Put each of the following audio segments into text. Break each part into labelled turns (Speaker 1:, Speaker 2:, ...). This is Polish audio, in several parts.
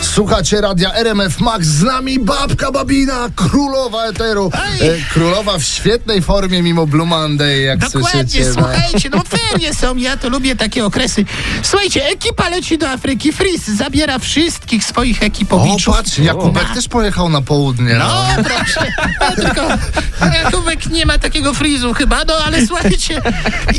Speaker 1: Słuchacie radia RMF Max, z nami babka Babina, królowa eteru.
Speaker 2: Ej!
Speaker 1: E, Królowa w świetnej formie mimo Blue Monday, jak
Speaker 2: Dokładnie,
Speaker 1: słyszycie. no.
Speaker 2: słuchajcie, no ferie są, ja to lubię takie okresy. Słuchajcie, ekipa leci do Afryki, Fris zabiera wszystkich swoich
Speaker 1: O,
Speaker 2: ekipowiczów.
Speaker 1: patrz, Jakubek też pojechał na południe.
Speaker 2: No, proszę. No, tylko Jakubek nie ma takiego frizu chyba, no ale słuchajcie.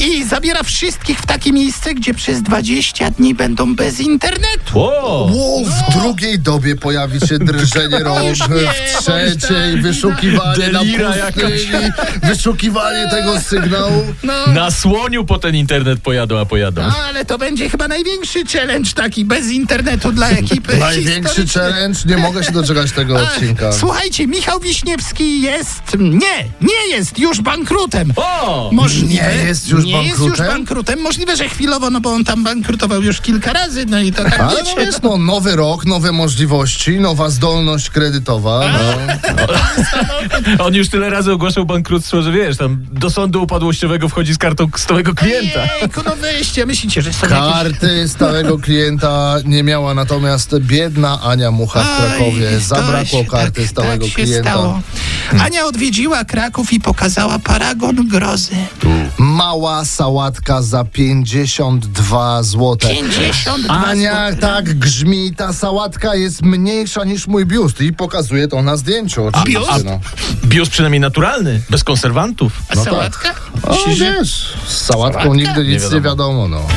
Speaker 2: I zabiera wszystkich w takie miejsce, gdzie przez 20 dni będą bez internetu.
Speaker 3: O!
Speaker 1: Wow, w drugiej dobie pojawi się drżenie rąg,
Speaker 2: No. już nie,
Speaker 1: w trzeciej
Speaker 2: bądź
Speaker 1: wyszukiwanie na
Speaker 3: Delira
Speaker 1: pustyni, wyszukiwanie tego sygnału.
Speaker 2: No.
Speaker 3: Na słoniu po ten internet pojadą, a pojadą.
Speaker 2: No, ale to będzie chyba największy challenge taki bez internetu dla ekipy.
Speaker 1: Największy
Speaker 2: historyczny.
Speaker 1: challenge, nie mogę się doczekać tego
Speaker 2: Ach,
Speaker 1: odcinka.
Speaker 2: Słuchajcie, Michał Wiśniewski jest. Nie, nie jest już bankrutem.
Speaker 3: O!
Speaker 2: Możliwe,
Speaker 1: Nie jest już
Speaker 2: nie Jest
Speaker 1: bankrutem?
Speaker 2: już bankrutem. Możliwe, że chwilowo, no bo on tam bankrutował już kilka razy, no i to tak
Speaker 1: Ale no
Speaker 2: wiecie.
Speaker 1: wiesz, no, nowy rok, nowe możliwości, nowa zdolność kredytowa. No.
Speaker 3: On już tyle razy ogłaszał bankructwo, że wiesz, tam do sądu upadłościowego wchodzi z kartą stałego klienta.
Speaker 2: Ojejku, no weźcie, myślicie, że są jakieś...
Speaker 1: Karty stałego klienta nie miała, natomiast biedna Ania Mucha w Krakowie.
Speaker 2: Oj,
Speaker 1: Zabrakło
Speaker 2: to się
Speaker 1: karty
Speaker 2: tak,
Speaker 1: stałego
Speaker 2: tak się
Speaker 1: klienta. Hmm.
Speaker 2: Stało. Ania odwiedziła Kraków i pokazała paragon grozy.
Speaker 1: Mała sałatka za 52 zł.
Speaker 2: 52
Speaker 1: Ania,
Speaker 2: złote.
Speaker 1: tak grzmi, ta sałatka jest mniejsza niż mój biust i pokazuje to na zdjęciu. oczywiście,
Speaker 2: biust?
Speaker 1: No.
Speaker 3: Biust przynajmniej naturalny, bez
Speaker 1: tak.
Speaker 3: konserwantów.
Speaker 2: A sałatka?
Speaker 1: O, wiesz, z sałatką nigdy nic nie wiadomo, no.